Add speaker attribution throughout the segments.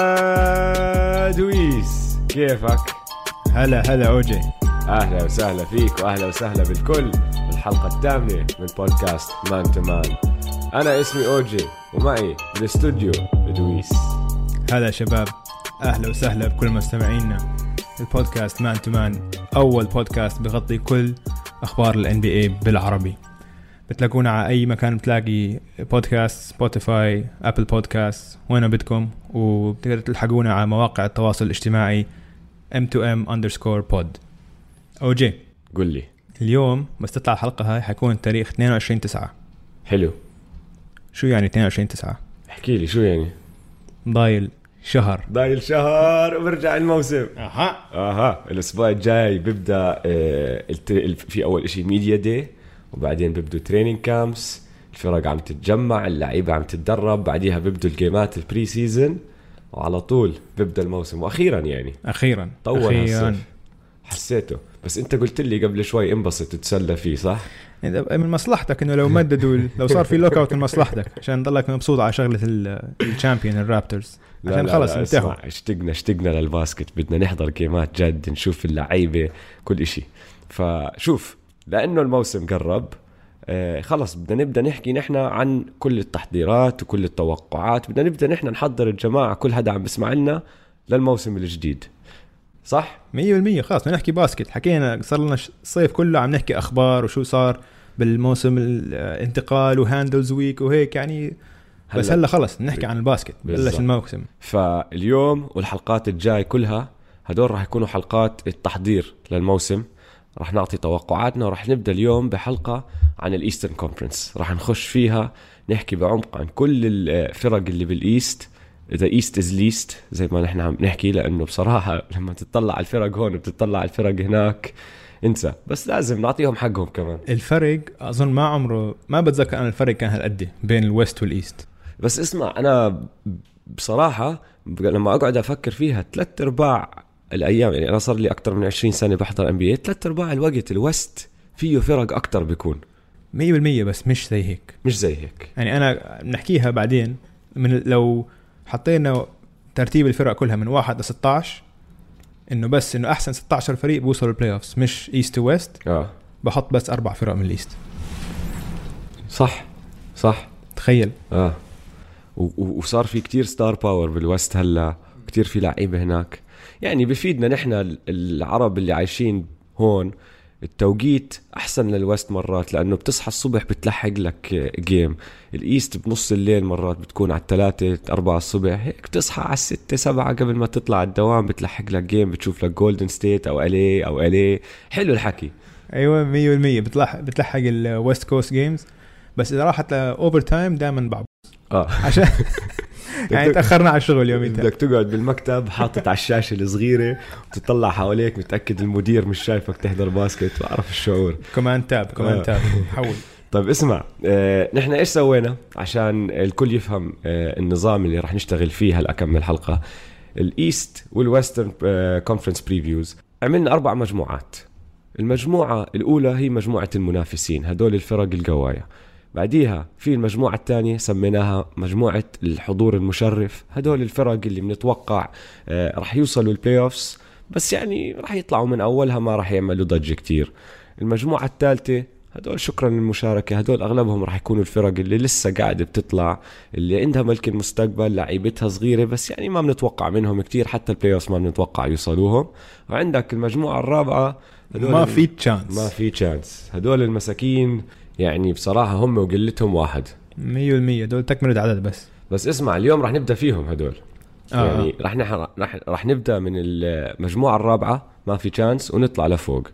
Speaker 1: هلا دويس كيفك؟
Speaker 2: هلا هلا اوجي
Speaker 1: اهلا وسهلا فيك واهلا وسهلا بالكل بالحلقه الثامنه من بودكاست مان تو مان انا اسمي اوجي ومعي بالاستوديو دويس
Speaker 2: هلا شباب اهلا وسهلا بكل مستمعينا البودكاست مان تو مان اول بودكاست بغطي كل اخبار الان بي اي بالعربي بتلاقونا على اي مكان بتلاقي بودكاست سبوتيفاي ابل بودكاست وين ما بدكم وبتقدروا تلحقونا على مواقع التواصل الاجتماعي m2m underscore pod اوجي
Speaker 1: قل لي
Speaker 2: اليوم بس تطلع الحلقه هاي حيكون التاريخ 22 9
Speaker 1: حلو
Speaker 2: شو يعني 22 9
Speaker 1: احكي لي شو يعني؟
Speaker 2: ضايل شهر
Speaker 1: ضايل شهر وبرجع الموسم
Speaker 2: اها
Speaker 1: اها الاسبوع الجاي بيبدا آه، الت- ال- في اول شيء ميديا دي وبعدين بيبدوا تريننج كامبس الفرق عم تتجمع اللعيبه عم تتدرب بعديها بيبدوا الجيمات البري سيزون وعلى طول بيبدا الموسم واخيرا يعني
Speaker 2: اخيرا
Speaker 1: طول
Speaker 2: اخيرا
Speaker 1: هالصيف حسيته بس انت قلت لي قبل شوي انبسط تتسلى فيه صح
Speaker 2: إذا من مصلحتك انه لو مددوا لو صار في لوك اوت من مصلحتك عشان تضلك مبسوط على شغله الشامبيون الرابترز
Speaker 1: لا
Speaker 2: عشان
Speaker 1: لا
Speaker 2: خلص
Speaker 1: لا،
Speaker 2: انتهوا
Speaker 1: اسمع، اشتقنا اشتقنا للباسكت بدنا نحضر جيمات جد نشوف اللعيبه كل إشي فشوف لانه الموسم قرب آه، خلص بدنا نبدا نحكي نحن عن كل التحضيرات وكل التوقعات بدنا نبدا نحن نحضر الجماعه كل هذا عم بسمع لنا للموسم الجديد صح
Speaker 2: 100% خلاص بدنا نحكي باسكت حكينا صار لنا ش- الصيف كله عم نحكي اخبار وشو صار بالموسم الانتقال وهاندلز ويك وهيك يعني بس
Speaker 1: هلأ.
Speaker 2: هلا خلص نحكي عن الباسكت
Speaker 1: بالظبط.
Speaker 2: بلش الموسم
Speaker 1: فاليوم والحلقات الجاي كلها هدول راح يكونوا حلقات التحضير للموسم راح نعطي توقعاتنا وراح نبدا اليوم بحلقه عن الايسترن كونفرنس راح نخش فيها نحكي بعمق عن كل الفرق اللي بالايست ذا ايست از ليست زي ما نحن عم نحكي لانه بصراحه لما تطلع على الفرق هون وبتطلع على الفرق هناك انسى بس لازم نعطيهم حقهم كمان
Speaker 2: الفرق اظن ما عمره ما بتذكر انا الفرق كان هالقد بين الويست والايست
Speaker 1: بس اسمع انا بصراحه بق- لما اقعد افكر فيها ثلاث ارباع الايام يعني انا صار لي اكثر من 20 سنه بحضر ام بي اي ثلاث ارباع الوقت الوست فيه فرق اكثر بيكون
Speaker 2: 100% بس مش زي هيك
Speaker 1: مش زي هيك
Speaker 2: يعني انا بنحكيها بعدين من لو حطينا ترتيب الفرق كلها من 1 ل 16 انه بس انه احسن 16 فريق بوصلوا البلاي اوفز مش ايست تو ويست
Speaker 1: اه
Speaker 2: بحط بس اربع فرق من الايست
Speaker 1: صح صح
Speaker 2: تخيل
Speaker 1: اه و- و- وصار في كتير ستار باور بالوست هلا كتير في لعيبه هناك يعني بفيدنا نحن ال- العرب اللي عايشين هون التوقيت احسن للوست مرات لانه بتصحى الصبح بتلحق لك جيم الايست بنص الليل مرات بتكون على الثلاثة أربعة الصبح هيك بتصحى على الستة سبعة قبل ما تطلع على الدوام بتلحق لك جيم بتشوف لك جولدن ستيت او الي او الي حلو الحكي
Speaker 2: ايوه 100% بتلحق بتلحق الويست كوست جيمز بس اذا راحت لاوفر تايم دائما بعض
Speaker 1: اه
Speaker 2: عشان يعني تاخرنا على الشغل يومين
Speaker 1: بدك تقعد بالمكتب حاطط على الشاشه الصغيره تطلع حواليك متاكد المدير مش شايفك تحضر باسكت بعرف الشعور
Speaker 2: كمان تاب كمان
Speaker 1: آه.
Speaker 2: تاب حول
Speaker 1: طيب اسمع آه، نحن ايش سوينا عشان الكل يفهم آه، النظام اللي رح نشتغل فيه هلا كم من حلقه الايست والويسترن كونفرنس بريفيوز آه، عملنا اربع مجموعات المجموعه الاولى هي مجموعه المنافسين هدول الفرق القوايا بعديها في المجموعة الثانية سميناها مجموعة الحضور المشرف هدول الفرق اللي بنتوقع آه، رح يوصلوا البلاي أوفس بس يعني رح يطلعوا من أولها ما رح يعملوا ضجة كتير المجموعة الثالثة هدول شكرا للمشاركة هدول أغلبهم رح يكونوا الفرق اللي لسه قاعدة بتطلع اللي عندها ملك المستقبل لعيبتها صغيرة بس يعني ما بنتوقع منهم كتير حتى البلاي أوفس ما بنتوقع يوصلوهم وعندك المجموعة الرابعة هدول
Speaker 2: ما
Speaker 1: ال-
Speaker 2: في تشانس
Speaker 1: ما في تشانس هدول المساكين يعني بصراحة هم وقلتهم واحد
Speaker 2: 100% دول تكمله عدد بس
Speaker 1: بس اسمع اليوم رح نبدا فيهم هدول آه.
Speaker 2: آه.
Speaker 1: يعني رح, نح... رح رح نبدا من المجموعه الرابعه ما في تشانس ونطلع لفوق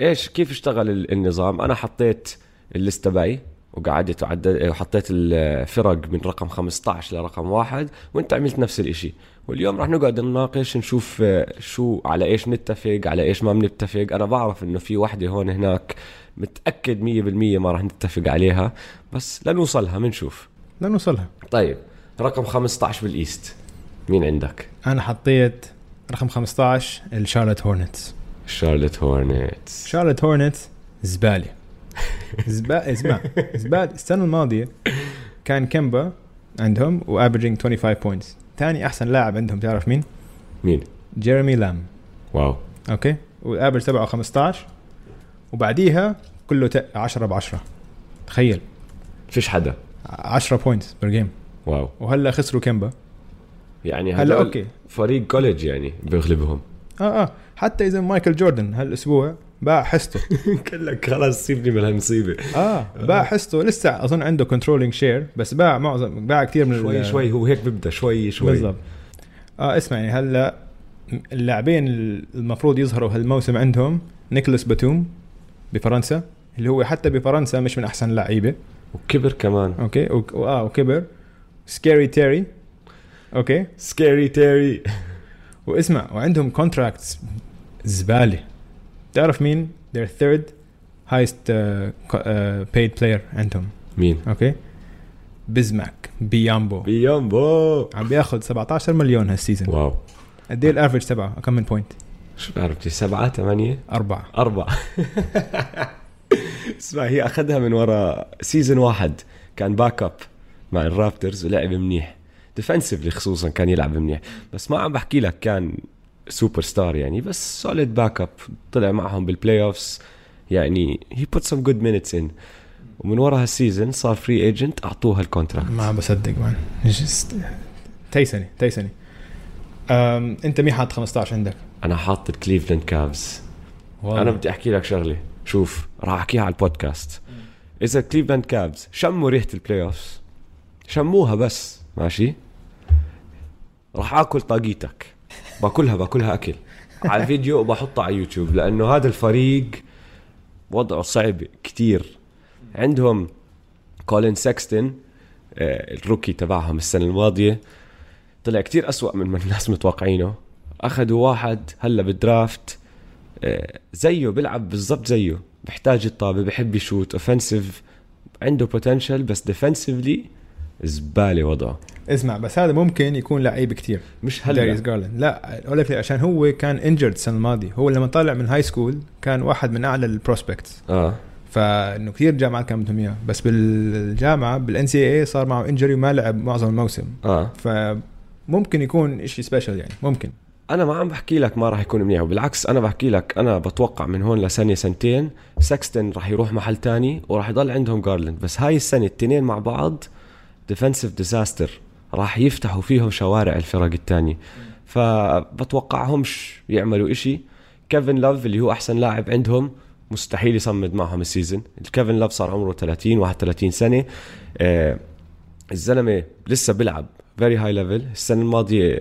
Speaker 1: وايش كيف اشتغل ال- النظام انا حطيت الليست تبعي وقعدت وعدد وحطيت الفرق من رقم 15 لرقم واحد وانت عملت نفس الاشي واليوم رح نقعد نناقش نشوف آه، شو على ايش نتفق على ايش ما بنتفق انا بعرف انه في وحده هون هناك متاكد 100% ما رح نتفق عليها بس لنوصلها بنشوف
Speaker 2: لا نوصلها
Speaker 1: طيب رقم 15 بالايست مين عندك؟
Speaker 2: انا حطيت رقم 15 الشارلوت هورنتس
Speaker 1: شارلت هورنتس
Speaker 2: شارلوت هورنتس إيه، زباله زبا اسمع زباله السنه الماضيه كان كمبا عندهم وافريجنج 25 بوينتس ثاني احسن لاعب عندهم تعرف مين
Speaker 1: مين؟
Speaker 2: جيرمي لام
Speaker 1: واو
Speaker 2: اوكي والافرج تبعه 15 وبعديها كله ت- 10 ب 10 تخيل
Speaker 1: فيش حدا
Speaker 2: 10 بوينتس بير جيم
Speaker 1: واو
Speaker 2: وهلا خسروا كيمبا
Speaker 1: يعني
Speaker 2: هلا
Speaker 1: هلا
Speaker 2: اوكي
Speaker 1: فريق كوليج يعني بيغلبهم
Speaker 2: اه اه حتى اذا مايكل جوردن هالاسبوع باع حصته
Speaker 1: كلك خلاص سيبني من هالمصيبه
Speaker 2: اه باع حصته لسه اظن عنده كنترولينج شير بس باع معظم باع كثير من ال-
Speaker 1: شوي شوي هو هيك ببدا شوي شوي
Speaker 2: بالضبط اه اسمع يعني هلا اللاعبين المفروض يظهروا هالموسم عندهم نيكولاس باتوم بفرنسا اللي هو حتى بفرنسا مش من احسن لعيبه
Speaker 1: وكبر كمان
Speaker 2: اوكي و- واه وكبر سكيري تيري اوكي
Speaker 1: سكيري تيري
Speaker 2: واسمع وعندهم كونتراكتس زباله تعرف مين their third highest uh, co- uh, paid player عندهم
Speaker 1: مين؟
Speaker 2: اوكي بزماك بيامبو
Speaker 1: بيامبو
Speaker 2: عم بياخذ 17 مليون هالسيزون
Speaker 1: واو
Speaker 2: قد ايه الافرج تبعه كم من بوينت
Speaker 1: شو بعرف سبعة ثمانية
Speaker 2: أربعة
Speaker 1: أربعة اسمع هي أخذها من ورا سيزن واحد كان باك أب مع الرابترز ولعب منيح ديفنسفلي خصوصا كان يلعب منيح بس ما عم بحكي لك كان سوبر ستار يعني بس سوليد باك اب طلع معهم بالبلاي اوفس يعني هي بوت سم جود مينتس ان ومن ورا هالسيزون صار فري ايجنت اعطوها الكونتراكت
Speaker 2: ما عم بصدق مان Just- تيسني تيسني أم، انت مين حاط 15 عندك؟
Speaker 1: انا حاطط كليفلاند كافز انا بدي احكي لك شغله شوف راح احكيها على البودكاست اذا كليفلاند كابز شموا ريحه البلاي اوفز شموها بس ماشي راح اكل طاقيتك باكلها باكلها اكل على فيديو وبحطها على يوتيوب لانه هذا الفريق وضعه صعب كتير عندهم كولين سكستن آه، الروكي تبعهم السنه الماضيه طلع كتير أسوأ من ما الناس متوقعينه أخذوا واحد هلا بالدرافت آه، زيه بيلعب بالضبط زيه بحتاج الطابة بحب يشوت اوفنسيف عنده بوتنشل بس ديفنسفلي زبالة وضعه
Speaker 2: اسمع بس هذا ممكن يكون لعيب كتير
Speaker 1: مش
Speaker 2: داريس
Speaker 1: هلا
Speaker 2: جارلاند لا اقول لك ليه عشان هو كان انجرد السنه الماضيه هو لما طلع من هاي سكول كان واحد من اعلى البروسبكتس
Speaker 1: اه
Speaker 2: فانه كثير جامعات كان بدهم اياه بس بالجامعه بالان سي اي صار معه انجري وما لعب معظم الموسم
Speaker 1: اه
Speaker 2: فممكن يكون شيء سبيشال يعني ممكن
Speaker 1: انا ما عم بحكي لك ما راح يكون منيح وبالعكس انا بحكي لك انا بتوقع من هون لسنه سنتين سكستن راح يروح محل تاني وراح يضل عندهم جارلند بس هاي السنه التنين مع بعض ديفنسيف ديزاستر راح يفتحوا فيهم شوارع الفرق التانية فبتوقعهمش يعملوا إشي كيفن لوف اللي هو احسن لاعب عندهم مستحيل يصمد معهم السيزون الكيفن لوف صار عمره 30 31 سنه آه الزلمه لسه بيلعب فيري هاي ليفل السنه الماضيه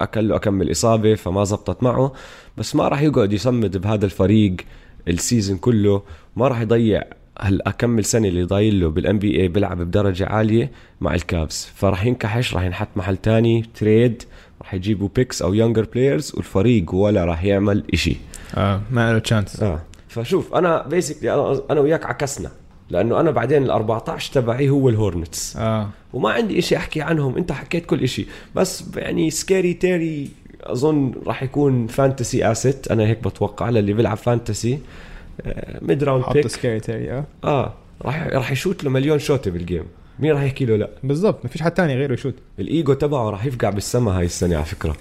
Speaker 1: اكل له اكمل اصابه فما زبطت معه بس ما راح يقعد يصمد بهذا الفريق السيزون كله ما راح يضيع هلا كمل سنه اللي ضايل له بالان بي اي بيلعب بدرجه عاليه مع الكابز فراح ينكحش راح ينحط محل تاني تريد راح يجيبوا بيكس او يونجر بلايرز والفريق ولا راح يعمل إشي
Speaker 2: آه ما له تشانس
Speaker 1: اه فشوف انا بيسكلي انا انا وياك عكسنا لانه انا بعدين ال 14 تبعي هو الهورنتس
Speaker 2: اه
Speaker 1: وما عندي إشي احكي عنهم انت حكيت كل إشي بس يعني سكيري تيري اظن راح يكون فانتسي اسيت انا هيك بتوقع للي بيلعب آه، فانتسي ميد راوند
Speaker 2: حط
Speaker 1: بيك
Speaker 2: سكيري تيري اه
Speaker 1: اه راح راح يشوت له مليون شوطه بالجيم مين راح يحكي له لا
Speaker 2: بالضبط ما فيش حد تاني غيره يشوت
Speaker 1: الايجو تبعه راح يفقع بالسما هاي السنه على فكره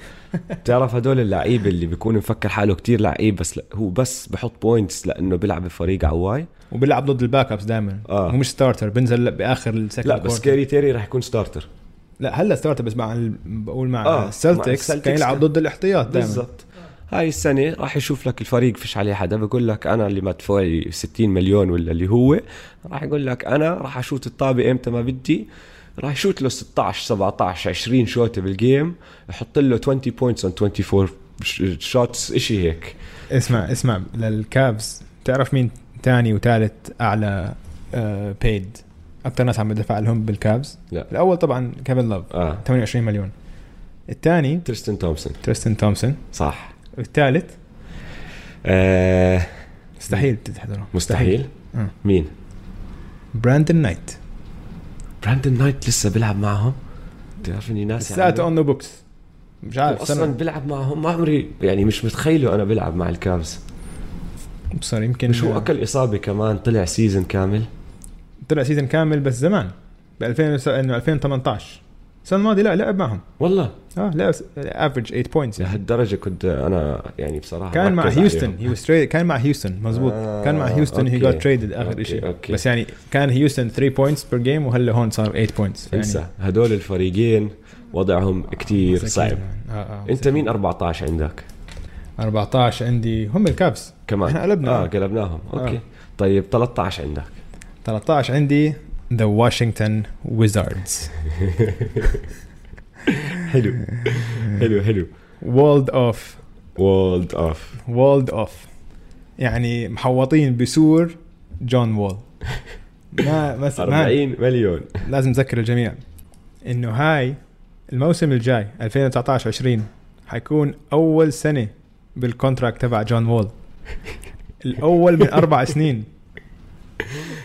Speaker 1: بتعرف هدول اللعيبه اللي بيكون مفكر حاله كتير لعيب بس لا هو بس بحط بوينتس لانه بيلعب بفريق عواي
Speaker 2: وبيلعب ضد الباك ابس دائما
Speaker 1: آه.
Speaker 2: هو مش ستارتر بينزل باخر السكند
Speaker 1: لا بس كيري تيري راح يكون ستارتر
Speaker 2: لا هلا ستارتر بس مع ال- بقول مع
Speaker 1: آه، مع
Speaker 2: آه. السلتكس
Speaker 1: السلتكس
Speaker 2: كان يلعب
Speaker 1: كان-
Speaker 2: ضد الاحتياط دائما
Speaker 1: بالضبط هاي السنة راح يشوف لك الفريق فيش عليه حدا بقول لك أنا اللي مدفوع لي 60 مليون ولا اللي هو راح يقول لك أنا راح أشوت الطابة إمتى ما بدي راح يشوت له 16 17 20 شوطة بالجيم يحط له 20 بوينتس اون 24 شوتس إشي هيك
Speaker 2: اسمع اسمع للكابز تعرف مين تاني وثالث اعلى بيد اكثر ناس عم بدفع لهم بالكابز
Speaker 1: لا.
Speaker 2: الاول طبعا كيفن لوف
Speaker 1: آه
Speaker 2: 28 مليون الثاني
Speaker 1: تريستن تومسون
Speaker 2: تريستن تومسون
Speaker 1: صح
Speaker 2: والثالث
Speaker 1: آه
Speaker 2: مستحيل تحضره
Speaker 1: مستحيل
Speaker 2: آه.
Speaker 1: مين
Speaker 2: براندن نايت
Speaker 1: براندن نايت لسه بيلعب معهم بتعرف اني ناسي
Speaker 2: لساته
Speaker 1: عنه.
Speaker 2: آه، اون ذا بوكس مش
Speaker 1: يعني هو
Speaker 2: عارف
Speaker 1: اصلا
Speaker 2: استنى
Speaker 1: بيلعب معهم ما عمري يعني مش متخيله انا بلعب مع الكابز
Speaker 2: صار يمكن
Speaker 1: مش هو اكل اصابه كمان طلع سيزن كامل
Speaker 2: طلع سيزون كامل بس زمان ب 2000 انه 2018 السنه الماضيه لا لعب معهم
Speaker 1: والله
Speaker 2: اه لا افريج 8 بوينتس
Speaker 1: لهالدرجه كنت انا يعني بصراحه
Speaker 2: كان مع
Speaker 1: مركز
Speaker 2: هيوستن
Speaker 1: عليهم.
Speaker 2: هي was traded- كان مع هيوستن مزبوط
Speaker 1: آه،
Speaker 2: كان مع هيوستن هي
Speaker 1: أوكي.
Speaker 2: جوت تريدد اخر
Speaker 1: أوكي،
Speaker 2: شيء
Speaker 1: أوكي.
Speaker 2: بس يعني كان هيوستن 3 بوينتس بير جيم وهلا هون صار 8 بوينتس يعني
Speaker 1: انسى هدول الفريقين وضعهم كتير
Speaker 2: مساكين
Speaker 1: صعب
Speaker 2: يعني. آه، آه،
Speaker 1: انت
Speaker 2: مساكين.
Speaker 1: مين 14 عندك
Speaker 2: 14 عندي هم الكابس
Speaker 1: كمان
Speaker 2: احنا قلبنا.
Speaker 1: اه قلبناهم اوكي
Speaker 2: آه.
Speaker 1: طيب 13 عندك
Speaker 2: 13 عندي ذا واشنطن ويزاردز
Speaker 1: حلو حلو حلو
Speaker 2: وولد اوف
Speaker 1: وولد اوف
Speaker 2: وولد اوف يعني محوطين بسور جون وول ما ما ما-
Speaker 1: 40 مليون
Speaker 2: لازم نذكر الجميع انه هاي الموسم الجاي 2019 20 حيكون اول سنه بالكونتراكت تبع جون وول الاول من اربع سنين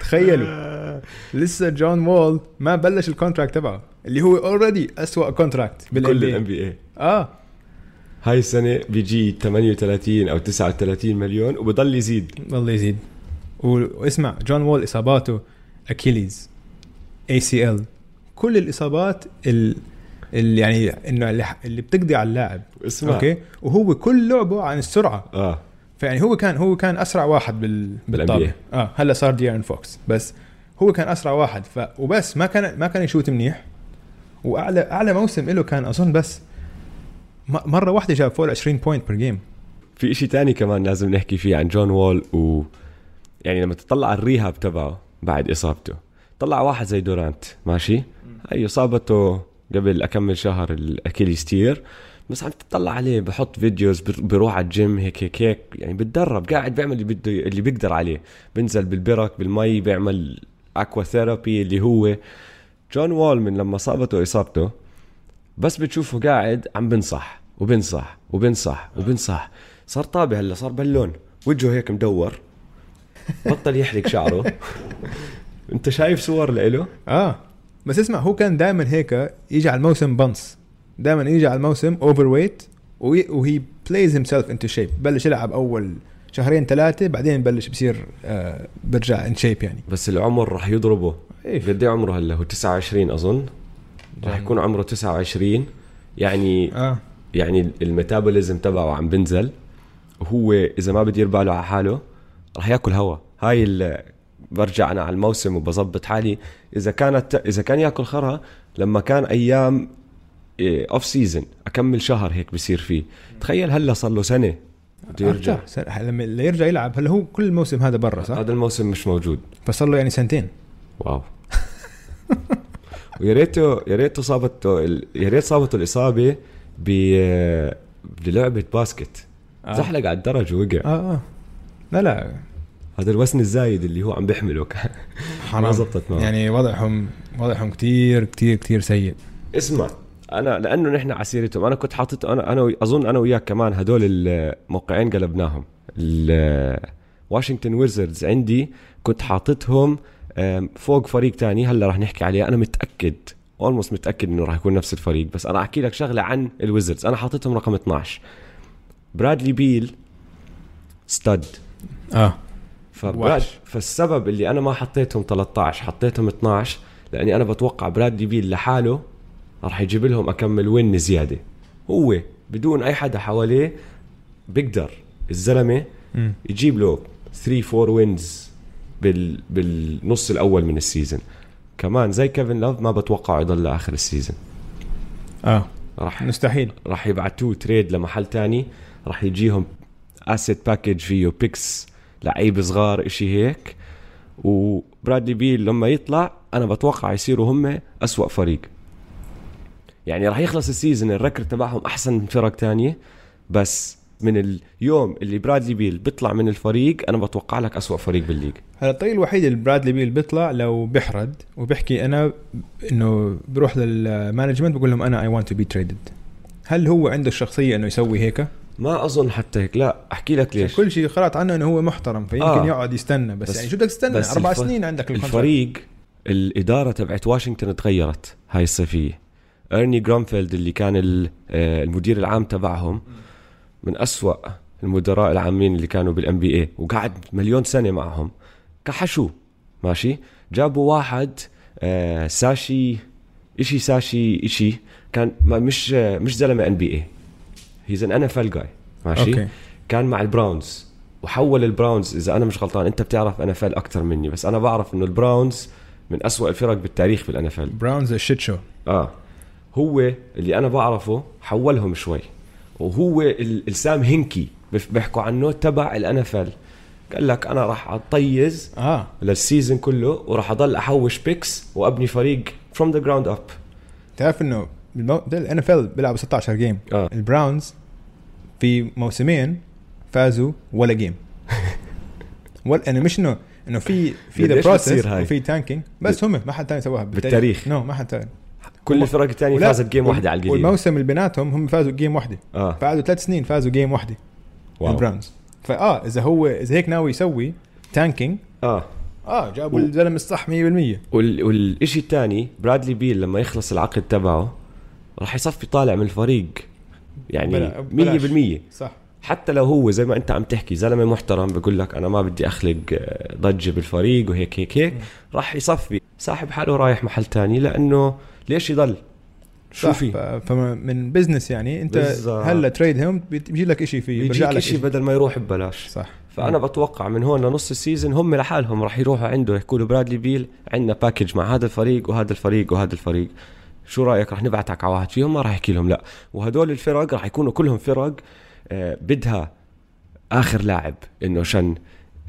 Speaker 2: تخيلوا لسه جون وول ما بلش الكونتراكت تبعه اللي هو اوريدي اسوا كونتراكت
Speaker 1: كل الام
Speaker 2: بال
Speaker 1: بي اي
Speaker 2: اه
Speaker 1: هاي السنه بيجي 38 او 39 مليون وبضل يزيد
Speaker 2: والله يزيد و- واسمع جون وول اصاباته اكيليز اي سي ال كل الاصابات ال- اللي يعني انه اللي, ح- اللي بتقضي على اللاعب
Speaker 1: اسمع
Speaker 2: اوكي وهو كل لعبه عن السرعه
Speaker 1: اه
Speaker 2: فيعني هو كان هو كان اسرع واحد بال بالطابه
Speaker 1: بالNBA.
Speaker 2: اه هلا صار ديارن فوكس بس هو كان اسرع واحد ف وبس ما كان ما كان يشوت منيح واعلى اعلى موسم له كان اظن بس م- مره واحده جاب فوق 20 بوينت بير جيم
Speaker 1: في اشي تاني كمان لازم نحكي فيه عن جون وول و يعني لما تطلع على الريهاب تبعه بعد اصابته طلع واحد زي دورانت ماشي هي اصابته قبل اكمل شهر الاكيليس تير بس عم تطلع عليه بحط فيديوز بر- بروح على الجيم هيك هيك هيك يعني بتدرب قاعد بيعمل اللي بده اللي بيقدر عليه بنزل بالبرك بالمي بيعمل اكوا ثيرابي اللي هو جون وول من لما صابته اصابته بس بتشوفه قاعد عم بنصح وبنصح وبنصح وبنصح صار طابع هلا صار بالون وجهه هيك مدور بطل يحرق شعره انت شايف صور لإله
Speaker 2: اه بس اسمع هو كان دائما هيك يجي على الموسم بنص دائما يجي على الموسم اوفر ويت وهي بلايز هيم سيلف انتو شيب بلش يلعب اول شهرين ثلاثه بعدين بلش بصير آه برجع ان شيب يعني
Speaker 1: بس العمر رح يضربه
Speaker 2: إيه. يعني
Speaker 1: قد ايه عمره هلا هو 29 اظن رح يكون عمره 29 يعني
Speaker 2: اه
Speaker 1: يعني الميتابوليزم تبعه عم بنزل وهو اذا ما بدير باله على حاله رح ياكل هوا هاي ال برجع انا على الموسم وبظبط حالي اذا كانت اذا كان ياكل خرا لما كان إيه، ايام اوف سيزن اكمل شهر هيك بصير فيه تخيل هلا صار له سنه بده يرجع
Speaker 2: آه، صار- لما اللي يرجع يلعب هلا هو كل الموسم هذا برا صح؟
Speaker 1: هذا الموسم مش موجود
Speaker 2: فصار له يعني سنتين
Speaker 1: واو ويا ريته يا ريته صابته ال- يا ريت صابته الاصابه ب بلعبه باسكت
Speaker 2: آه.
Speaker 1: زحلق على الدرج ووقع
Speaker 2: اه اه لا لا
Speaker 1: هذا الوزن الزايد اللي هو عم بيحمله كان ما زبطت معه يعني
Speaker 2: يعني وضعهم وضعهم كتير كتير كتير سيء
Speaker 1: اسمع انا لانه نحن عسيرتهم انا كنت حاطط انا انا وي- اظن انا وياك كمان هدول الموقعين قلبناهم ال- واشنطن ويزردز عندي كنت حاططهم آم، فوق فريق تاني هلا رح نحكي عليه انا متاكد اولموست متاكد انه رح يكون نفس الفريق بس انا احكي لك شغله عن الويزردز انا حاططهم رقم 12 برادلي بيل ستاد
Speaker 2: اه
Speaker 1: فبراد
Speaker 2: وحش.
Speaker 1: فالسبب اللي انا ما حطيتهم 13 حطيتهم 12 لاني انا بتوقع برادلي بيل لحاله راح يجيب لهم اكمل وين زياده هو بدون اي حدا حواليه بيقدر الزلمه
Speaker 2: مم.
Speaker 1: يجيب له 3 4 وينز بال بالنص الاول من السيزون كمان زي كيفن لوف ما بتوقعه يضل لاخر السيزون
Speaker 2: اه
Speaker 1: راح
Speaker 2: مستحيل
Speaker 1: راح يبعتوه تريد لمحل تاني راح يجيهم اسيت باكج فيه بيكس لعيب صغار اشي هيك وبرادلي بيل لما يطلع انا بتوقع يصيروا هم أسوأ فريق يعني راح يخلص السيزون الركر تبعهم احسن من فرق تانية بس من اليوم اللي برادلي بيل بيطلع من الفريق انا بتوقع لك أسوأ فريق بالليج
Speaker 2: هلا الطريق الوحيد اللي برادلي بيل بيطلع لو بيحرد وبيحكي انا انه بروح للمانجمنت بقول لهم انا اي ونت تو بي تريدد هل هو عنده الشخصيه انه يسوي هيك؟
Speaker 1: ما اظن حتى هيك لا احكي لك ليش
Speaker 2: كل شيء خلط عنه انه هو محترم فيمكن
Speaker 1: آه.
Speaker 2: آه. يقعد يستنى بس,
Speaker 1: بس-
Speaker 2: بس يعني شو بدك تستنى
Speaker 1: بس
Speaker 2: اربع
Speaker 1: الف-
Speaker 2: سنين عندك الكونتراكت.
Speaker 1: الفريق الإدارة تبعت واشنطن تغيرت هاي الصيفية أرني جرامفيلد اللي كان ال- آه، المدير العام تبعهم من أسوأ المدراء العامين اللي كانوا بالان بي اي وقعد مليون سنة معهم كحشوه ماشي جابوا واحد آه، ساشي اشي ساشي اشي كان ما مش آه، مش زلمه ان بي اي هيز ان ان اف ال جاي ماشي
Speaker 2: اوكي
Speaker 1: كان مع البراونز وحول البراونز اذا انا مش غلطان انت بتعرف ان اف ال اكثر مني بس انا بعرف انه البراونز من أسوأ الفرق بالتاريخ بالان اف ال
Speaker 2: براونز الشيت شو
Speaker 1: اه هو اللي انا بعرفه حولهم شوي وهو ال- السام هنكي بف- بيحكوا عنه تبع الان اف ال قال لك انا راح اطيز
Speaker 2: اه
Speaker 1: للسيزن كله وراح اضل احوش بيكس وابني فريق فروم ذا جراوند اب
Speaker 2: تعرف انه بالمو... ده الان اف ال بيلعبوا 16 جيم
Speaker 1: آه.
Speaker 2: البراونز في موسمين فازوا ولا جيم ولا يعني مش انه انه في في ذا
Speaker 1: قديش
Speaker 2: بروسيس
Speaker 1: بتصير هاي؟
Speaker 2: وفي تانكينج بس هم ما حد ثاني سواها
Speaker 1: بالتاريخ.
Speaker 2: نو ما حد ثاني
Speaker 1: كل الفرق الثانيه
Speaker 2: ولا-
Speaker 1: فازت جيم واحده على القليل
Speaker 2: والموسم اللي بيناتهم هم فازوا جيم واحده
Speaker 1: اه
Speaker 2: فقعدوا ثلاث سنين فازوا جيم واحده
Speaker 1: واو.
Speaker 2: البراونز فاه اذا هو اذا هيك ناوي يسوي تانكينج
Speaker 1: اه
Speaker 2: اه جابوا
Speaker 1: و-
Speaker 2: الزلمه الصح 100%
Speaker 1: وال... والشيء الثاني برادلي بيل لما يخلص العقد تبعه راح يصفي طالع من الفريق
Speaker 2: بلا-
Speaker 1: يعني
Speaker 2: بلاش.
Speaker 1: 100%
Speaker 2: صح
Speaker 1: حتى لو هو زي ما انت عم تحكي زلمه محترم بقول لك انا ما بدي اخلق آه، ضجه بالفريق وهيك هيك هيك راح يصفي ساحب حاله رايح محل تاني لانه ليش يضل شو
Speaker 2: صح،
Speaker 1: في
Speaker 2: ف- فمن بزنس يعني انت
Speaker 1: بالظبط.
Speaker 2: هلا تريد هم بيجي لك شيء فيه بيرجع
Speaker 1: يجيك
Speaker 2: لك
Speaker 1: شيء
Speaker 2: شيء
Speaker 1: بدل ما يروح ببلاش
Speaker 2: صح
Speaker 1: فانا بتوقع من هون لنص السيزون هم لحالهم راح يروحوا عنده يحكوا له برادلي بيل عندنا باكج مع هذا الفريق وهذا الفريق وهذا الفريق شو رايك راح نبعتك على واحد فيهم ما راح يحكي لهم لا وهدول الفرق راح يكونوا كلهم فرق آه، بدها اخر لاعب انه شن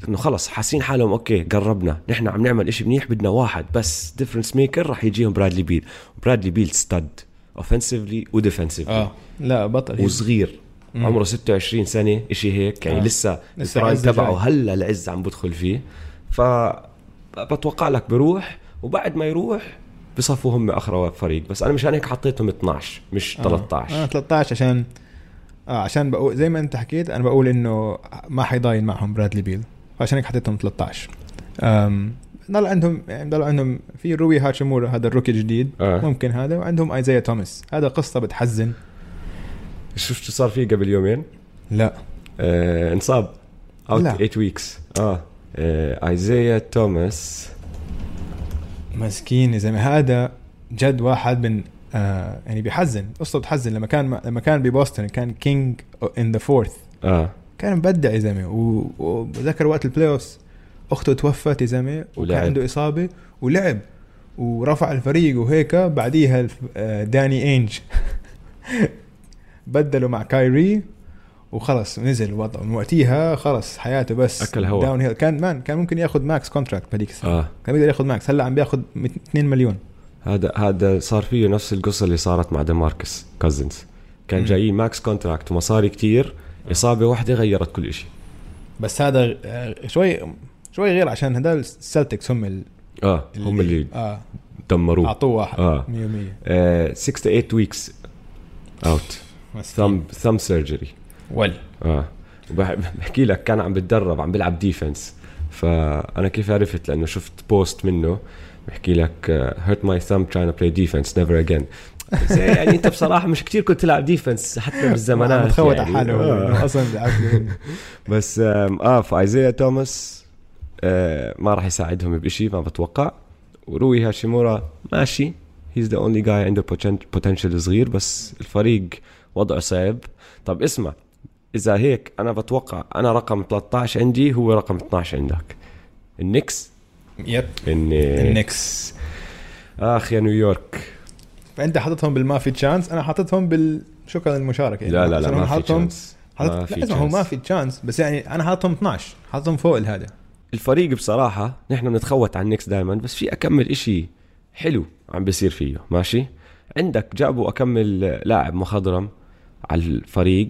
Speaker 1: انه خلص حاسين حالهم اوكي قربنا نحن عم نعمل إشي منيح بدنا واحد بس ديفرنس ميكر راح يجيهم برادلي بيل برادلي بيل ستاد اوفنسively وديفنسively
Speaker 2: اه لا بطل
Speaker 1: وصغير
Speaker 2: مم.
Speaker 1: عمره 26 سنه شيء هيك يعني
Speaker 2: آه.
Speaker 1: آه. لسه
Speaker 2: لسه
Speaker 1: البرايم
Speaker 2: عز
Speaker 1: تبعه
Speaker 2: جاي.
Speaker 1: هلا العز عم بدخل فيه ف بتوقع لك بروح وبعد ما يروح بصفوا هم اخر فريق بس انا مشان هيك حطيتهم 12 مش
Speaker 2: آه.
Speaker 1: 13
Speaker 2: انا 13 عشان اه عشان بقول زي ما انت حكيت انا بقول انه ما حيضاين معهم برادلي بيل عشان هيك حطيتهم 13 امم ضل عندهم يعني ضل عندهم في روي هاشيمورا هذا الروكي الجديد
Speaker 1: آه.
Speaker 2: ممكن هذا وعندهم ايزايا توماس هذا قصه بتحزن
Speaker 1: شفت شو صار فيه قبل يومين
Speaker 2: لا
Speaker 1: آه انصاب اوت
Speaker 2: لا.
Speaker 1: 8 ويكس اه, آه. ايزايا توماس
Speaker 2: مسكين يا زلمه هذا جد واحد من آه يعني بيحزن قصته بتحزن لما كان لما كان ببوسطن كان كينج ان ذا فورث
Speaker 1: اه
Speaker 2: كان مبدع يا زلمه و- وذكر وقت البلاي اوفز اخته توفت يا زلمه وكان
Speaker 1: ولعب.
Speaker 2: عنده اصابه ولعب ورفع الفريق وهيك بعديها الف- آه، داني اينج بدلوا مع كايري وخلص نزل وضعه من وقتها خلص حياته بس
Speaker 1: أكل هوا.
Speaker 2: داون هيل كان مان كان ممكن ياخذ ماكس كونتراكت بهذيك السنه
Speaker 1: اه
Speaker 2: كان بيقدر ياخذ ماكس هلا عم بياخذ 2 مليون
Speaker 1: هذا هذا صار فيه نفس القصه اللي صارت مع ديماركس كازنز كان
Speaker 2: مم.
Speaker 1: جايين ماكس كونتراكت ومصاري كتير اصابه واحده غيرت كل شيء
Speaker 2: بس هذا آه، شوي شوي غير عشان هدول السلتكس هم ال-
Speaker 1: اه هم اللي
Speaker 2: اه
Speaker 1: دمروه
Speaker 2: اعطوه واحد
Speaker 1: آه.
Speaker 2: 100%
Speaker 1: 6 to 8 ويكس اوت ثم ثم سيرجري
Speaker 2: يعني ول
Speaker 1: اه وبح- بحكي لك كان عم بتدرب عم بيلعب ديفنس فانا كيف عرفت لانه شفت بوست منه بحكي لك آه، هيرت ماي ثامب تراين بلاي ديفنس نيفر اجين يعني انت بصراحه مش كتير كنت تلعب ديفنس حتى بالزمانات
Speaker 2: متخوت على
Speaker 1: يعني.
Speaker 2: حاله هو،
Speaker 1: آه.
Speaker 2: إنه اصلا بيعرف-
Speaker 1: بس آم، اه فايزيا توماس آه ما راح يساعدهم بشيء ما بتوقع وروي هاشيمورا ماشي هيز ذا اونلي جاي عنده بوتنشل صغير بس الفريق وضعه صعب طب اسمع اذا هيك انا بتوقع انا رقم 13 عندي هو رقم 12 عندك النكس
Speaker 2: يب
Speaker 1: إيه. النكس
Speaker 2: النكس.
Speaker 1: اخ يا نيويورك
Speaker 2: فانت حاططهم بالما في تشانس انا حاططهم بال شكرا للمشاركه يعني
Speaker 1: لا لا لا
Speaker 2: عشان هم
Speaker 1: ما في
Speaker 2: حاططهم
Speaker 1: chance. ما
Speaker 2: حاطط
Speaker 1: في
Speaker 2: لا اسمع هو
Speaker 1: chance.
Speaker 2: ما في تشانس بس يعني انا حاططهم 12 حاططهم فوق الهذا
Speaker 1: الفريق بصراحة نحن بنتخوت على النكس دائما بس في أكمل إشي حلو عم بيصير فيه ماشي عندك جابوا أكمل لاعب مخضرم على الفريق